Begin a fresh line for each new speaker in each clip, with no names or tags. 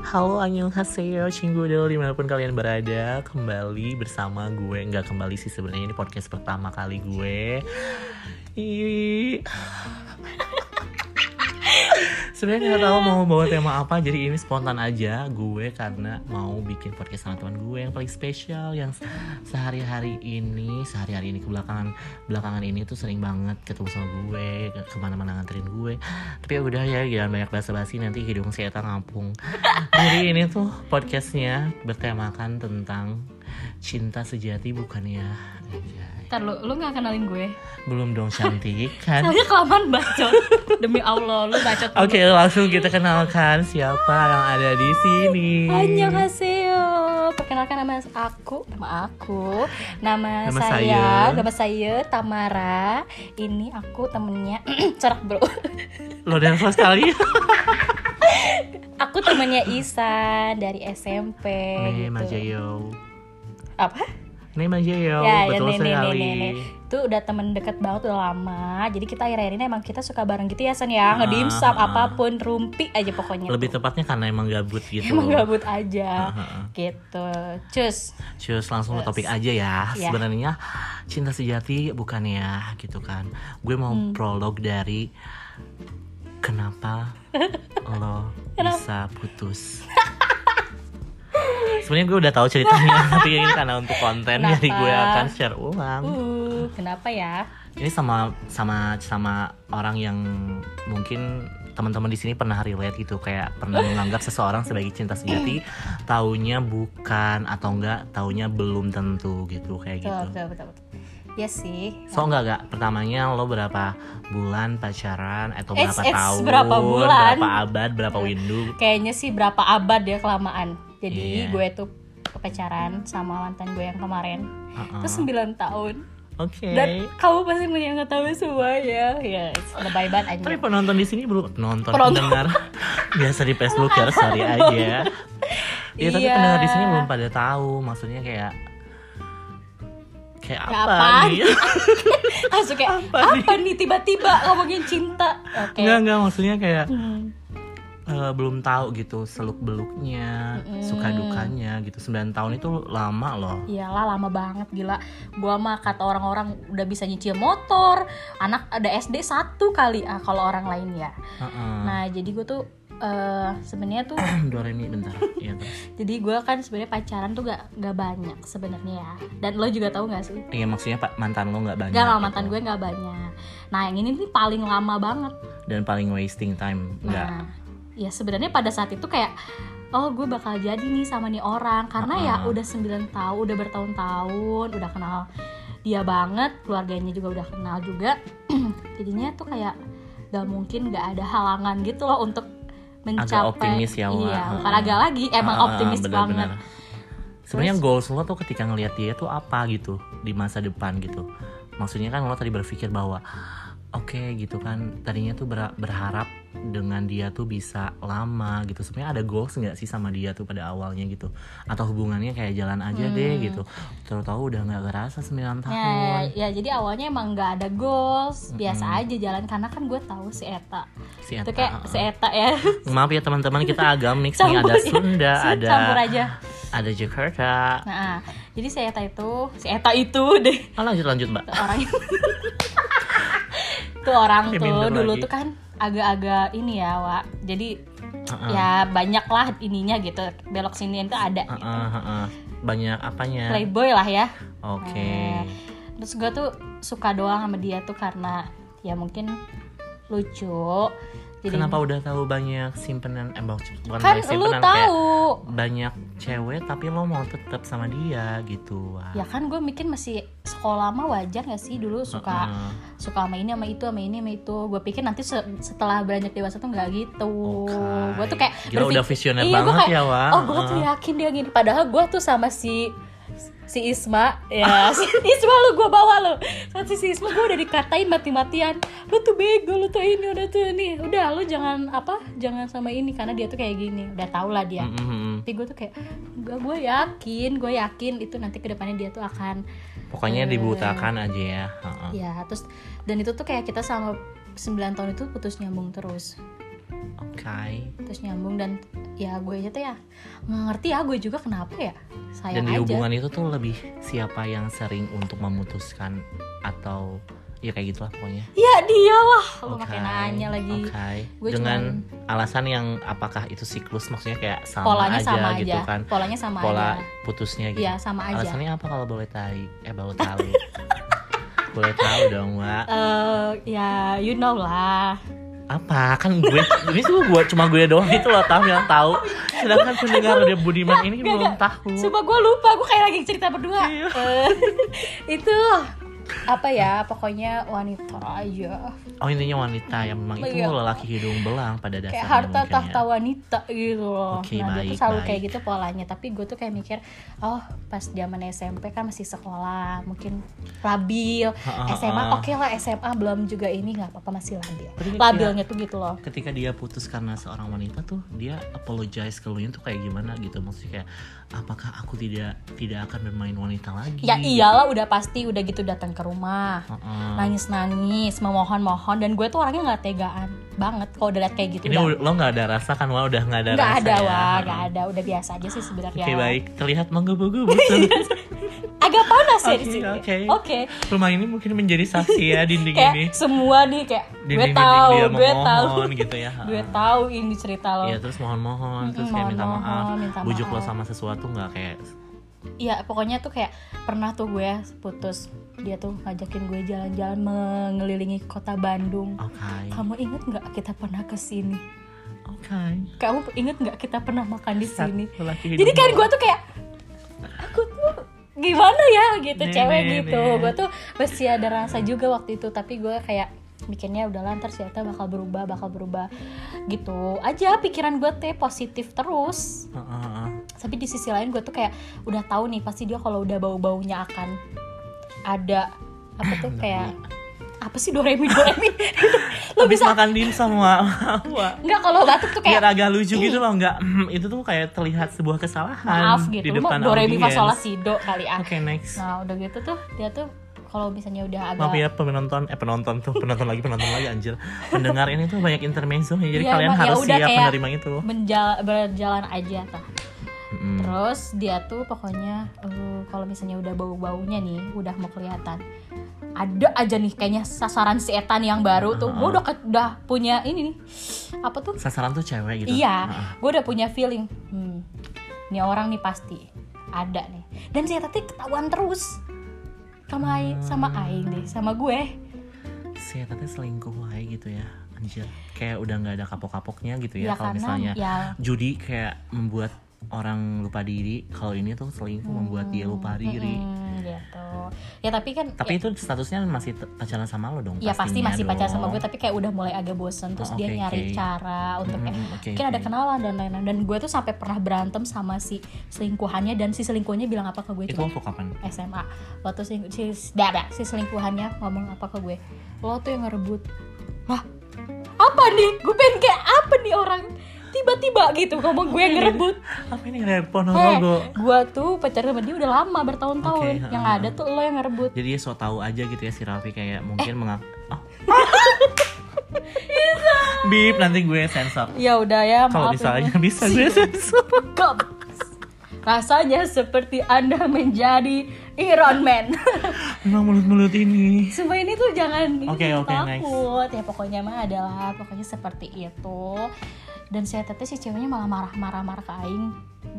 Halo annyeonghaseyo Cinggudo dimanapun kalian berada Kembali bersama gue Nggak kembali sih sebenarnya ini podcast pertama kali gue Ih. Sebenarnya nggak tahu mau bawa tema apa Jadi ini spontan aja gue karena mau bikin podcast sama teman gue yang paling spesial Yang sehari-hari ini Sehari-hari ini kebelakangan Belakangan ini tuh sering banget ketemu sama gue ke- Kemana-mana nganterin gue Tapi ya udah ya jangan banyak basa-basi Nanti hidung saya ngampung jadi ini tuh podcastnya bertemakan tentang cinta sejati bukan ya? Anjay.
Ntar lu, lu gak kenalin gue
Belum dong cantik kan?
Soalnya kelamaan bacot Demi Allah, lu bacot
Oke langsung kita kenalkan siapa yang ada di sini.
Annyeonghaseyo Perkenalkan nama aku Nama aku Nama,
Nama
saya,
saya.
Nama saya Tamara Ini aku temennya Corak bro
Lo nervous kali?
Aku temennya Isa Dari SMP
Nih
gitu.
Majayo.
Apa?
Nih Majayo.
ya, ya,
Betul
nih, nih, nih,
sekali.
nih, nih. Itu udah temen deket banget udah lama Jadi kita akhir-akhir ini emang kita suka bareng gitu ya San ya Ngedimsum,
Ah.
apapun, rumpi aja pokoknya
Lebih tepatnya karena emang gabut gitu.
Emang gabut aja
Heeh.
gitu cus
Cus langsung ke topik aja ya.
Ya.
Sebenarnya cinta sejati bukan ya gitu kan. Gue mau prolog dari kenapa lo bisa putus. Sebenarnya gue udah tahu ceritanya, tapi ini karena untuk konten
Kenapa?
jadi gue akan share ulang.
uh kenapa ya
Ini sama sama sama orang yang mungkin teman-teman di sini pernah relate gitu kayak pernah menganggap seseorang sebagai cinta sejati taunya bukan atau enggak taunya belum tentu gitu kayak
betul
gitu.
betul betul, betul. ya sih
So enggak enggak pertamanya lo berapa bulan pacaran atau
Eits,
berapa
eits,
tahun
berapa bulan?
berapa abad berapa window
kayaknya sih berapa abad ya kelamaan
Iya.
jadi gue tuh pacaran sama mantan gue yang kemarin
Uh-uh.
itu 9 tahun
Oke.
dan kamu pasti punya mengetahui semua ya ya lebay banget aja
Tapi penonton di sini belum penonton
Penonton.
pendengar biasa di Facebook ya sorry aja. Iya tapi
Iya.
pendengar di sini belum pada tahu maksudnya kayak kayak
Kayak
apa, gitu.
apaan?
nih?
langsung kayak
Apa
apa,
nih?
nih tiba-tiba ngomongin cinta oke
Enggak enggak maksudnya kayak
Hmm.
eh, belum tahu gitu seluk beluknya suka dukanya gitu 9 tahun itu lama loh.
Iyalah lama banget gila. Gua mah kata orang-orang udah bisa nyicil motor, anak ada SD satu kali ah kalau orang lain ya.
Heeh.
Nah, jadi gue tuh eh sebenarnya tuh
Doremi bentar. Iya terus.
jadi gua kan sebenarnya pacaran tuh gak, gak banyak sebenarnya ya. Dan lo juga tahu gak sih?
Iya maksudnya pak mantan lo nggak banyak.
Gak lah
gitu.
mantan gue gak banyak. Nah, yang ini nih paling lama banget.
Dan paling wasting time nggak.
Nah, ya sebenarnya pada saat itu kayak oh gue bakal jadi nih sama nih orang karena ya
Uh-uh.
udah 9 tahun, udah bertahun-tahun, udah kenal dia banget, keluarganya juga udah kenal juga. Jadinya tuh kayak gak mungkin gak ada halangan gitu loh untuk mencapai
optimis ya, Wak.
Iya, bukan
Uh-uh.
agak lagi, emang
Ah,
optimis
benar-benar.
banget.
Sebenarnya goals lo tuh ketika ngelihat dia tuh apa gitu di masa depan gitu. Maksudnya kan lo tadi berpikir bahwa oke gitu kan tadinya tuh ber- berharap dengan dia tuh bisa lama gitu. Sebenarnya ada goals nggak sih sama dia tuh pada awalnya gitu? Atau hubungannya kayak jalan aja deh
Hmm.
gitu. Tahu-tahu udah nggak ngerasa 9
Ya, ya,
tahun.
ya, jadi awalnya emang gak ada goals, biasa
Mm-mm.
aja jalan karena kan gue tahu si Eta.
Si Eta,
Itu kayak
ah,
si Eta ya.
ah. Maaf ya teman-teman kita agak mix nih
Campur,
ada
iya.
Sunda, ada
Campur aja.
ada Jakarta.
Nah, jadi si Eta itu, si Eta itu deh
Ah, lanjut lanjut Mbak.
tuh orang tuh orang
Oke,
tuh
minder
dulu
lagi.
tuh kan agak-agak ini ya, Wak. Jadi
Ah, ah.
ya banyak lah ininya gitu. Belok sini itu ada
Ah, ah, ah, ah. Banyak apanya?
playboy lah ya.
Oke.
Nah, terus gue tuh suka doang sama dia tuh karena ya mungkin lucu. Jadi
Kenapa udah tahu banyak simpenan eh bukan bukan
kan
banyak
lu
simpenan kayak
tahu.
banyak cewek tapi lo mau tetap sama dia gitu. Wah.
Ya kan gue mikir masih sekolah mah wajar gak sih dulu suka
Heeh.
suka sama ini sama itu sama ini sama itu gue pikir nanti se- setelah beranjak dewasa tuh nggak gitu
Oke.
gue tuh kayak
Oh, Gila
berpik-
udah visioner
Iya, gua
banget
kayak,
ya, Wah.
oh gue tuh yakin dia gini padahal gue tuh sama si si Isma ya si Isma lu gue bawa lu sama si, si Isma gue udah dikatain mati-matian lu tuh bego lu tuh ini udah tuh ini udah lu jangan apa jangan sama ini karena dia tuh kayak gini udah tau lah dia
Mm, mm, mm.
tapi gue tuh kayak gue gue yakin gue yakin itu nanti kedepannya dia tuh akan
Pokoknya
Eh.
dibutakan aja ya. Heeh.
Iya. Ya, terus dan itu tuh kayak kita sama 9 tahun itu putus nyambung terus.
Oke.
terus nyambung dan ya gue aja tuh ya nggak ngerti ya gue juga kenapa ya
Dan
sayang
di
aja
hubungan itu tuh lebih siapa yang sering untuk memutuskan atau ya kayak gitulah pokoknya.
ya dialah gue
Oke,
makin nanya lagi
oke.
Gue
Dengan alasan yang apakah itu siklus maksudnya kayak sama
polanya
aja
sama aja
gitu kan.
polanya sama
Pola
aja
putusnya gitu.
Iya sama aja
Alasannya apa kalau boleh tahu? Eh, baru tahu. boleh tahu dong, Mbak.
Eh, ya you know lah
Apa? Kan gue ini tuh gue cuma gue doang itu loh Tam yang tahu. Sedangkan pendengar dia Budiman ini
Gak,
belum
gak.
tahu.
Sumpah gue lupa, gue kayak lagi cerita berdua
Iya.
Eh, Itu apa ya pokoknya wanita aja
Oh, intinya wanita yang memang itu
Iya.
lelaki hidung belang pada dasarnya.
kayak harta
mungkin ya.
tahta wanita gitu loh
Oke,
nah dia
baik,
tuh selalu
baik.
kayak gitu polanya tapi gue tuh kayak mikir oh pas zaman SMP kan masih sekolah mungkin labil
Ha, ha,
SMA
ha.
oke lah SMA belum juga ini nggak apa-apa masih labil
Tapi dia-
labilnya tuh gitu loh
ketika dia putus karena seorang wanita tuh dia apologize ke lu tuh kayak gimana gitu maksudnya kayak apakah aku tidak tidak akan bermain wanita lagi
ya iyalah udah pasti udah gitu datang ke rumah
Heeh.
nangis nangis memohon mohon dan gue tuh orangnya nggak tegaan banget kalau udah liat kayak gitu
ini u-
udah-
lo nggak ada rasa kan wah udah nggak ada
nggak
rasa
ada
ya.
wah
Heeh.
nggak ada ya. udah biasa aja sih
oke
sebenarnya
baik terlihat menggebu-gebu tuh.
Iya. agak panas ya di
Oke,
sini oke
oke. rumah ini mungkin menjadi saksi ya dinding ini
kayak semua nih kayak gue
dinding-dinding
tahu
dia
gue tahu
memohon gitu ya Heeh.
gue tahu ini cerita lo
Iya terus mohon-mohon terus
Mm-mm,
kayak minta
mohon-mohon,
maaf,
minta
bujuk lo
maaf.
sama sesuatu nggak kayak
Iya pokoknya tuh kayak pernah tuh gue putus dia tuh ngajakin gue jalan-jalan mengelilingi kota Bandung
oke
kamu inget nggak kita pernah ke sini
oke
kamu inget nggak kita pernah makan di sini
Lelaki
jadi
hidung
kan
belang.
gue tuh kayak aku tuh gimana ya gitu
Nih,
cewek
nih,
gitu
nih.
gue tuh pasti ada rasa juga waktu itu tapi gue kayak mikirnya udah lantar sih bakal berubah bakal berubah gitu aja pikiran gue teh positif terus
Heeh, heeh.
tapi di sisi lain gue tuh kayak udah tahu nih pasti dia kalau udah bau baunya akan ada apa tuh kayak apa sih doremi doremi lo
Habis
bisa
makan dimsum wah wah
nggak kalau batuk tuh
biar
kayak
agak lucu gitu loh nggak mm, itu tuh kayak terlihat sebuah kesalahan
maaf
di
gitu lo mau
depan audiens.
doremi masalah
oke
sido kali ah
next
nah udah gitu tuh dia tuh kalau misalnya udah agak
maaf ya penonton eh penonton tuh penonton lagi penonton lagi anjir pendengar ini tuh banyak intermezzo ya, jadi
Iya,
kalian
emang, ya
harus
udah
siap
kayak-
menerima itu
menjala- berjalan aja tuh
Mm-mm.
terus dia tuh pokoknya eh, kalau misalnya udah bau baunya nih udah mau kelihatan ada aja nih kayaknya sasaran si Etan yang baru tuh gue udah ke- udah punya ini nih apa tuh
sasaran tuh cewek gitu
Iya,
Heeh.
gue udah punya feeling. Hmm, ini orang nih pasti ada nih. Dan si Tati ketahuan terus sama Ai- sama
Hmm.
Aing deh, sama gue.
si Eta teh selingkuh wae gitu ya anjir kayak udah nggak ada kapok-kapoknya gitu ya,
Ya,
kalau
karena
misalnya
ya
judi kayak membuat orang lupa diri kalau ini tuh selingkuh membuat dia lupa diri
hmm, gitu. Ya tapi kan
Tapi itu statusnya masih te- pacaran sama lo dong?
ya, ya pasti
pastinya
masih pacaran sama
dong.
gue tapi kayak udah mulai agak bosen
Oh,
terus dia
oke,
nyari
oke.
cara untuk
Mm,
kayak
mm, oke,
ya. mungkin ada
oke.
kenalan dan lain-lain dan gue tuh sampai pernah berantem sama si selingkuhannya dan si selingkuhnya bilang apa ke gue
Itu
coba?
waktu kapan?
SMA waktu si, si, dada, si selingkuhannya ngomong apa ke gue lo tuh yang ngerebut lah apa nih gue pengen kayak apa nih orang tiba-tiba gitu ngomong gue yang ngerebut
Apa ini repot
heh
logo?
gue tuh pacaran sama dia udah lama bertahun-tahun
Oke,
yang
ha-ha.
ada tuh lo yang ngerebut
Jadi dia so tau aja gitu ya si Raffi kayak
Eh.
mungkin mengak... Oh. Bip, nanti gue sensor.
ya udah ya
Kalau
maaf
misalnya
ya.
bisa gue sensor.
Kep. rasanya seperti anda menjadi Iron Man
Memang mulut-mulut ini.
Sumpah ini tuh jangan ini
Oke,
jangan
oke, next.
takut ya pokoknya mah adalah pokoknya seperti itu dan saya teteh si ceweknya malah marah-marah-marah ke Aing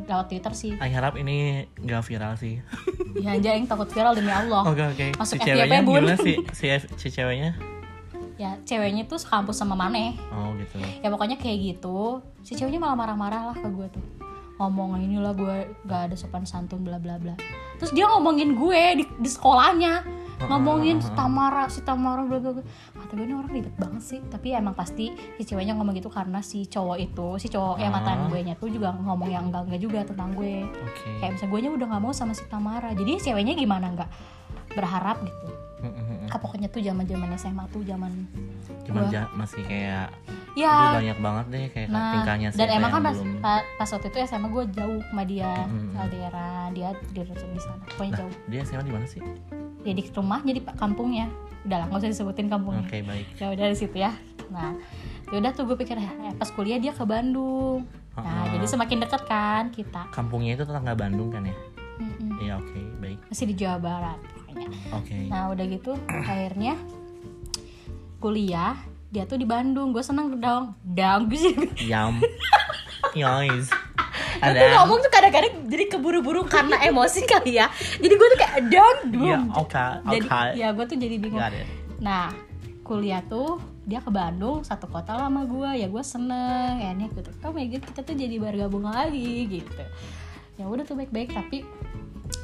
lewat Twitter sih
Aku harap ini gak viral sih. Oh,
ya aja Aing takut viral demi Allah
Oke, oke. Si
Oh. Masuk FYP,
ceweknya
Bun.
gimana sih? Si, si ceweknya?
ya ceweknya tuh sekampus sama Maneh
Oh gitu.
ya pokoknya kayak gitu si ceweknya malah marah-marah lah ke gue tuh ngomong "Ah, inilah gue gak ada sopan santun bla bla bla terus dia ngomongin gue di, di sekolahnya ngomongin si Tamara si Tamara bla bla bla kata gue ini orang ribet banget sih tapi emang pasti si ceweknya ngomong gitu karena si cowok itu si cowok yang
Ah.
mantan gue nya tuh juga ngomong yang enggak enggak juga tentang gue
Oke.
kayak misalnya gue nya udah nggak mau sama si Tamara jadi ceweknya gimana nggak berharap gitu
Mm, mm, mm.
Ah, pokoknya tuh zaman zaman SMA tuh zaman
Cuman
Gua-
ja- masih kayak... Aduh,
ya
banyak banget deh kayak
Nah,
tingkahnya sih.
dan emang kan pas, pa- pas waktu itu SMA gue jauh sama dia
Mm-mm.
Kaldera dia di di sana
Mm-hmm. Nah,
pokoknya jauh
dia SMA di mana sih?
jadi rumahnya di kampungnya udah lah nggak usah disebutin kampungnya
Oke, baik.
ya udah di situ ya nah ya udah tuh gue pikir "Eh, pas kuliah dia ke Bandung nah
Heeh.
jadi semakin deket kan kita
Kampungnya itu tetangga Bandung kan ya?
Mm-mm.
Iya oke baik
masih di Jawa Barat pokoknya
oke.
Nah udah gitu akhirnya kuliah dia tuh di Bandung, gue seneng dong, dong gue sih.
Yum. Yois.
Gue
Ada.
ngomong tuh kadang-kadang jadi keburu-buru karena emosi kali ya. Jadi gue tuh kayak dong,
Iya
dong.
oke
Jadi
oke.
ya gue tuh jadi bingung.
Got it.
Nah kuliah tuh dia ke Bandung satu kota lah sama gue ya gue seneng ya nih gitu oh my god kita tuh jadi bergabung lagi gitu ya udah tuh baik-baik tapi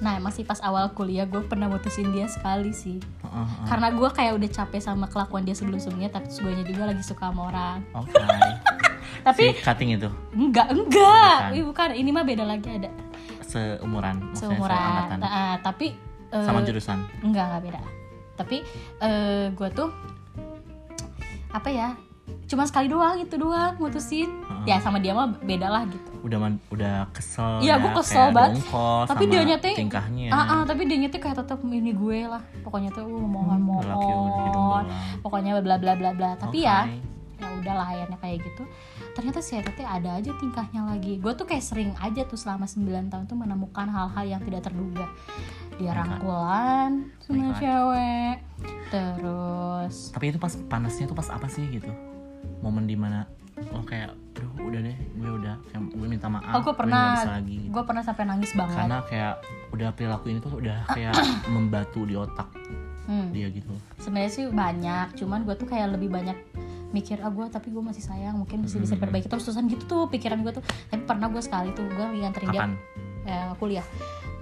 nah emang sih pas awal kuliah gue pernah mutusin dia sekali sih
Heeh, heeh.
karena gue kayak udah capek sama kelakuan dia sebelum-sebelumnya tapi terus gue juga lagi suka sama orang
Oke. Si
tapi
cutting itu
enggak enggak
Bukan.
Ih, bukan. ini mah beda lagi ada
seumuran, maksudnya
seumuran
seangkatan.
Ah, tapi eh,
sama jurusan.
enggak enggak beda tapi gue tuh apa ya cuma sekali doang itu doang mutusin
Heeh.
ya sama dia mah beda lah gitu
Udah man- udah kesel.
Iya,
ya,
gua kesel
kayak
banget.
dongkol
Tapi
sama
dianya tuh-
tingkahnya.
Ah, ah, tapi dia tuh kayak tetap ini gue lah pokoknya tuh uh, mohon
Lelaki Hmm, udah hidung
mohon
belang.
pokoknya bla bla bla bla tapi ya
Oke.
ya udahlah akhirnya kayak gitu ternyata si Eta teh ada aja tingkahnya lagi gue tuh kayak sering aja tuh selama 9 tahun tuh menemukan hal-hal yang tidak terduga
Oh my God.
dia rangkulan
Oh my
sama
God.
cewek terus
Tapi itu pas panasnya tuh pas apa sih gitu? Momen dimana lo kayak, aduh udah deh, gue udah kayak gue minta maaf.
Oh, gue
nggak
pernah.
Ah, bisa lagi. gitu.
gue pernah sampai nangis banget
Karena kayak udah perilaku ini tuh udah kayak membatu di otak
Hmm.
dia gitu.
sebenarnya sih banyak cuman gue tuh kayak lebih banyak mikir ah gue tapi gue masih sayang mungkin masih
Hmm.
bisa diperbaiki terus terusan gitu tuh pikiran gue tuh tapi pernah gue sekali tuh gue nganterin dia
Kapan?
eh, kuliah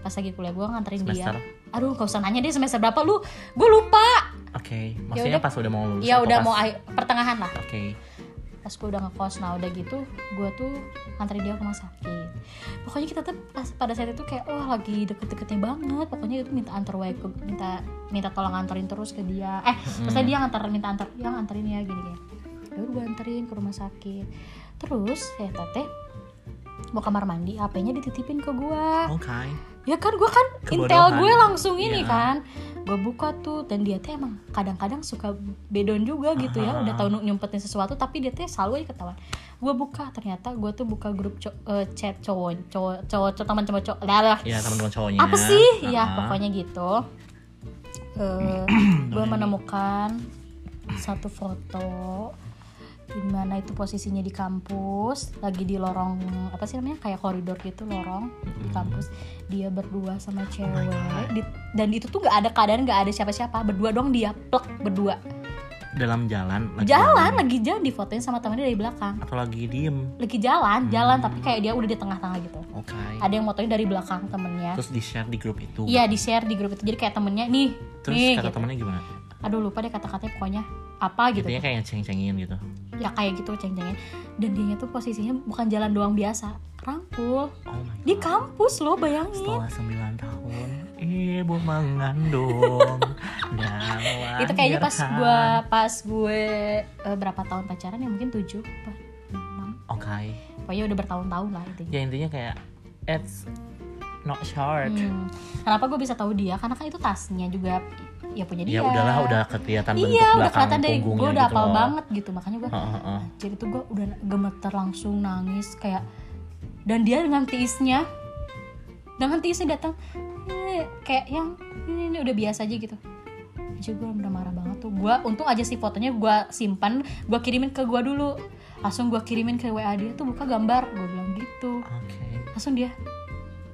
pas lagi kuliah gue nganterin
Semester?
dia aduh gak usah nanya dia semester berapa lu gue lupa
Oke, maksudnya
udah.
pas udah mau lulus
ya
atau
udah
pas-
mau ai- pertengahan lah
Oke,
pas gue udah ngekos nah udah gitu gue tuh nganterin dia ke rumah sakit pokoknya kita tuh pas pada saat itu kayak wah lagi deket-deketnya banget pokoknya itu minta antar wae ke minta minta tolong anterin terus ke dia eh terus
Hmm.
dia nganter minta antar yang anterin ya gini gini ya gue anterin ke rumah sakit terus ya tete mau kamar mandi HP-nya dititipin ke gue
oke.
ya kan gue kan
Kebodohan.
intel gue langsung ini
Iya.
kan gue buka tuh dan dia tuh emang kadang-kadang suka bedon juga gitu ya
Aha.
udah tahu nyempetin sesuatu tapi dia tuh selalu aja ketahuan gue buka ternyata gue tuh buka grup co- eh, chat cowok cowok cowok cowok- teman cowok cowok lah lah.
Ya teman-teman cowoknya.
apa sih ya
Ah,
pokoknya gitu gue menemukan satu foto dimana itu posisinya di kampus lagi di lorong apa sih namanya kayak koridor gitu lorong di
Mm-mm.
kampus dia berdua sama cewek
Hmm. Oh God.
Di- dan itu tuh nggak ada keadaan nggak ada siapa-siapa berdua dong dia plek berdua
Dalam jalan. lagi
jalan
jalan.
lagi jalan difotoin sama temennya dari belakang
Atau lagi diem.
lagi jalan jalan
Hmm.
tapi kayak dia udah di tengah-tengah gitu
Oke.
ada yang motoin dari belakang temennya
Terus di share di grup itu.
iya di share di grup itu jadi kayak temennya nih
Terus
nih
kata
gitu.
temennya gimana?
aduh lupa deh kata-katanya pokoknya apa gitu
Intinya kayak ceng-cengin gitu.
ya kayak gitu ceng-cengnya dan dia tuh posisinya bukan jalan doang biasa rangkul
Oh my
di
god.
kampus loh bayangin
Setelah 9 tahun, ibu mengandung dan
itu kayaknya pas
melahirkan.
gue pas gue eh, berapa tahun pacaran ya mungkin tujuh apa enam
Oke.
pokoknya udah bertahun-tahun lah itu
Ya intinya kayak it's not short.
Hmm, kenapa gue bisa tahu dia karena kan itu tasnya juga ya punya
Ya
dia
udahlah udah kelihatan bentuk
iya udah
belakang
kelihatan dari
punggungnya
gue udah
gitu
apal
loh.
banget gitu makanya gue
Heeh, heeh.
jadi tuh gue udah gemeter langsung nangis kayak dan dia dengan tiisnya dengan tiisnya datang "Eh," kayak yang ini, ini udah biasa aja gitu aja gue udah marah banget tuh gue untung aja sih fotonya gue simpan gue kirimin ke gue dulu langsung gue kirimin ke wa dia tuh buka gambar gue bilang gitu
Oke.
langsung dia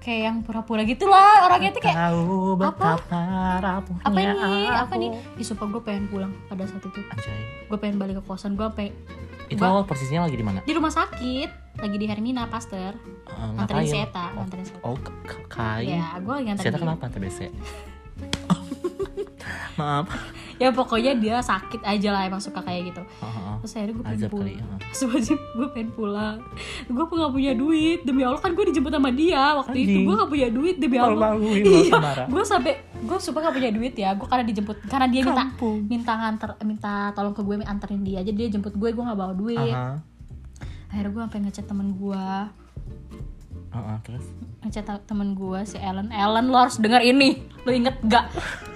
kayak yang pura-pura gitulah orangnya tuh kayak
Tahu betapa rapuhnya
apa ini apa
aku.
nih Ih, sumpah gue pengen pulang pada saat itu
Anjay.
gue pengen balik ke kosan gue pengen
Itu
Gua-
posisinya lagi di mana?
di rumah sakit lagi di Hermina Pasteur
Eh,
nganterin si
ngapain?
Eta
Oh,
nganterin si Eta
Oh, k- k- kai.
ya gue lagi
Si Eta
nganterin dia.
kenapa TBC? Maaf.
ya pokoknya dia sakit aja lah emang suka kayak gitu
Heeh, heeh.
terus akhirnya gue pengen
Azab kali. ya.
pulang
heeh.
Sebajib gue pengen pulang Gue nggak punya duit Demi Allah kan gue dijemput sama dia Waktu itu
Anjing.
gue gak punya duit Demi Allah
Malu-maluin lo
Iya
Samara.
Gue sampai Gue sumpah gak punya duit ya Gue karena dijemput Karena dia minta
Kampung.
Minta nganter Minta tolong ke gue anterin dia Jadi dia jemput gue Gue gak bawa duit
Aha.
Akhirnya gue sampai ngechat temen gue
Heeh, terus
ngechat temen gue si Ellen Ellen lo harus denger ini lo inget gak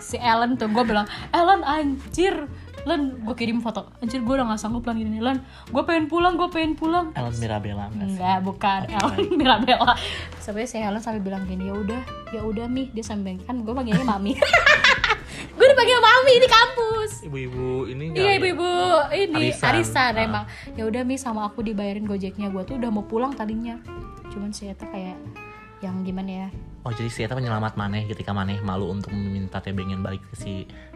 si Ellen tuh gue bilang Ellen anjir Lan gue kirim foto anjir gue udah gak sanggup lan gini Lan gue pengen pulang gue pengen pulang
Ellen Mirabella enggak sih?
Enggak, bukan
Oke,
Ellen
baik.
Mirabella. Sampai saya Helen sampai bilang gini, ya udah, ya udah mi, dia sambil kan gue panggilnya mami. gue dipanggil mami di kampus.
Ibu-ibu ini
Iya
kali.
ibu-ibu ini
Ya, Arisan.
arisan,
Ah.
emang. Ya udah mi sama aku dibayarin gojeknya gue tuh udah mau pulang tadinya. Cuman saya tuh kayak yang gimana ya
Oh jadi si Eta penyelamat Maneh ketika Maneh malu untuk meminta tebengin balik ke si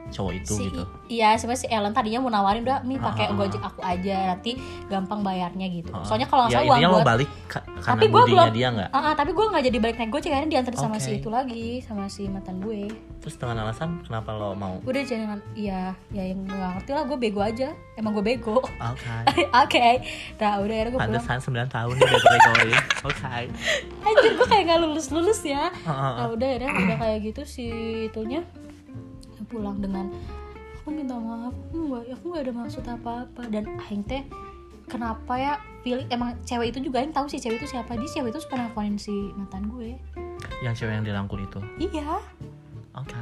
cowok itu
si
gitu.
iya sebenarnya si Ellen tadinya mau nawarin udah mi pakai
Ah, ah, ah.
gojek aku aja nanti gampang bayarnya gitu
Heeh.
soalnya kalau nggak
ya,
salah uang
intinya lo
gua-
balik ka- karena
Tapi gua
budinya
belum-
dia nggak.
Ah, ah, tapi gue nggak jadi balik naik gojek akhirnya diantar sama
Oke.
si itu lagi sama si mantan gue
Terus dengan alasan kenapa lo mau?
udah jangan iya ya yang gue gak ngerti lah gue bego aja emang gue bego oke
Oke.
nah udah akhirnya gue pulang
Pantesan 9 tahun dia bego-begoin. Oke.
anjir gue kayak gak lulus lulus ya
Heeh.
nah udah akhirnya udah kayak gitu si itunya pulang dengan aku minta maaf aku nggak aku nggak ada maksud apa apa dan aing teh kenapa ya pilih emang cewek itu juga aing tahu sih cewek itu siapa dia cewek itu suka nelfonin si mantan gue
Yang cewek yang dirangkul itu.
iya
Oke.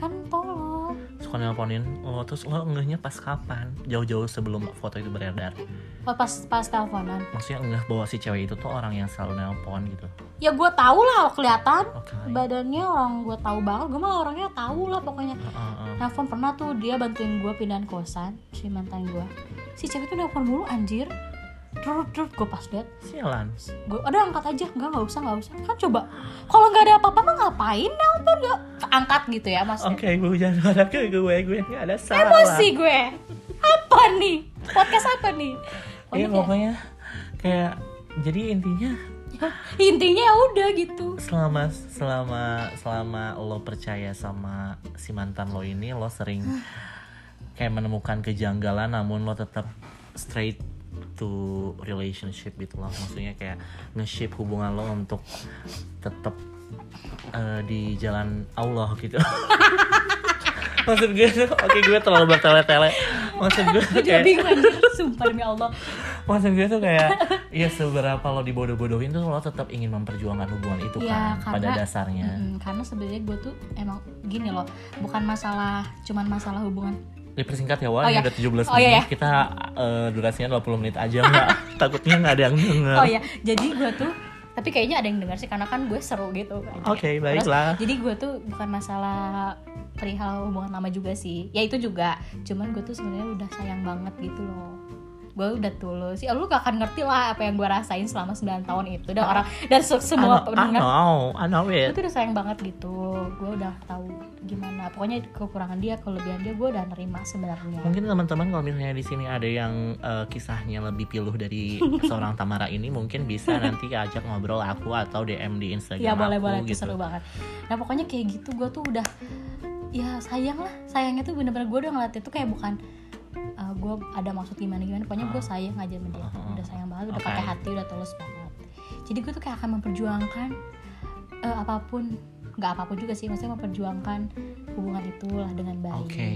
kan tolong
Suka nelponin. Oh, terus lo ngehnya pas kapan? Jauh-jauh sebelum foto itu beredar.
oh, pas pas teleponan
Maksudnya ngeh bahwa si cewek itu tuh orang yang selalu nelpon gitu.
ya gue tau lah kelihatan
Oke.
badannya orang gue tahu banget gue mah orangnya tahu lah pokoknya
Heeh, heeh.
nelfon pernah tuh dia bantuin gue pindahan kosan si mantan gue si cewek tuh nelfon mulu anjir terus terus gue pas liat
Sialan.
gue ada angkat aja enggak nggak usah nggak usah kan coba kalau nggak ada apa-apa mah ngapain nelfon nggak angkat gitu ya maksudnya
Oke, gue jangan ada ke gue, gue nggak ada salah.
emosi gue apa nih podcast apa nih
Iya
Pokoknya kayak-
pokoknya kayak jadi intinya
intinya ya udah gitu
selama selama selama lo percaya sama si mantan lo ini lo sering kayak menemukan kejanggalan namun lo tetap straight to relationship gitu loh maksudnya kayak nge-shape hubungan lo untuk tetap eh, di jalan Allah gitu maksud gue oke gue terlalu bertele-tele maksud gue
gue juga
kayak
bingung anjir sumpah demi Allah
Maksud gue tuh kayak ya seberapa lo dibodoh-bodohin tuh lo tetap ingin memperjuangkan hubungan itu
Iya,
kan pada
karena-
dasarnya.
Mm, karena sebenarnya gue tuh emang gini loh bukan masalah cuman masalah hubungan
Dipersingkat ya Wan,
Oh,
ini
iya.
udah 17
Oh,
menit.
iya, iya.
Kita eh, durasinya 20 menit aja Mbak. Takutnya nggak ada yang denger.
oh ya jadi gue tuh tapi kayaknya ada yang dengar sih karena kan gue seru gitu
Oke,
Terus,
baiklah.
jadi gue tuh bukan masalah perihal hubungan lama juga sih ya itu juga cuman gue tuh sebenarnya udah sayang banget gitu loh gue udah tulus ya lu gak akan ngerti lah apa yang gue rasain selama 9 tahun itu dan
Ah,
orang dan se-
I
semua
know, I
pendengar
know, I know
gue
it.
tuh udah sayang banget gitu gue udah tahu gimana pokoknya kekurangan dia kelebihan dia gue udah nerima sebenarnya
Mungkin teman-teman kalau misalnya di sini ada yang eh, kisahnya lebih piluh dari seorang Tamara ini mungkin bisa nanti ajak ngobrol aku atau DM di Instagram
ya boleh
aku
boleh itu
gitu.
seru banget nah pokoknya kayak gitu gue tuh udah ya sayang lah sayangnya tuh bener-bener gue udah ngeliatnya tuh kayak bukan gue ada maksud gimana gimana pokoknya gue sayang aja sama dia
Ah.
udah sayang banget udah
Oke.
pakai hati udah tulus banget jadi gue tuh kayak akan memperjuangkan eh, apapun nggak apapun juga sih maksudnya memperjuangkan hubungan itulah dengan baik
Oke.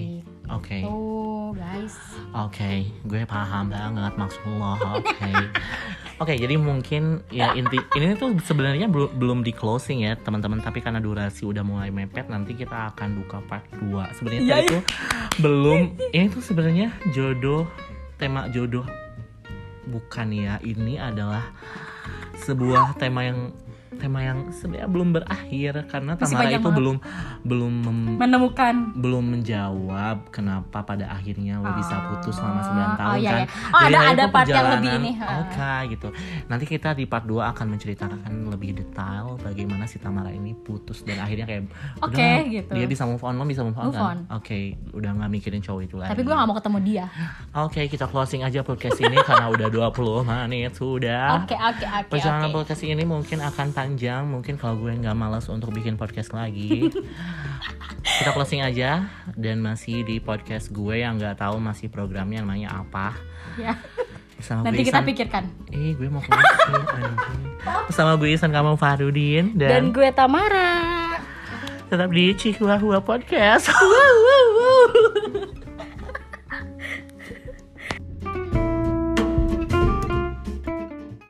Oke.
tuh guys
Oke, gue paham banget maksud lo. Oke. Oke, jadi mungkin ya inti ini tuh sebenarnya belum belum di closing ya, teman-teman, tapi karena durasi udah mulai mepet, nanti kita akan buka part 2. Sebenarnya
Iya,
tadi tuh belum ini tuh sebenarnya jodoh tema jodoh bukan ya. Ini adalah sebuah tema yang tema yang sebenarnya belum berakhir karena
Masih
Tamara
panjang
itu
banget.
belum belum mem-
menemukan
belum menjawab kenapa pada akhirnya lo bisa putus selama 9
Ah,
tahun
oh, iya,
kan.
iya. Oh, ada-
lain
ada
tuh
part yang
perjalanan.
lebih ini, ha.
Oke, gitu. Nanti kita di part 2 akan menceritakan lebih detail bagaimana si Tamara ini putus dan akhirnya kayak
Oke,
udah,
gitu.
Dia bisa move on, lo bisa move on
Move
kan?
on.
Oke, udah nggak mikirin cowok itu lagi.
tapi gue gak mau ketemu dia
Oke, kita closing aja podcast ini karena udah 20 menit sudah.
oke oke oke
Perjalanan
oke
podcast ini mungkin akan panjang, mungkin kalau gue nggak malas untuk bikin podcast lagi. Kita closing aja dan masih di podcast gue yang nggak tahu masih programnya namanya apa.
ya
Sama
nanti
gue
kita
Isan-
pikirkan
Eh, gue mau closing anjing. Sama gue Isan kamu Farudin
dan
dan,
gue Tamara
tetap di Chihuahua Podcast.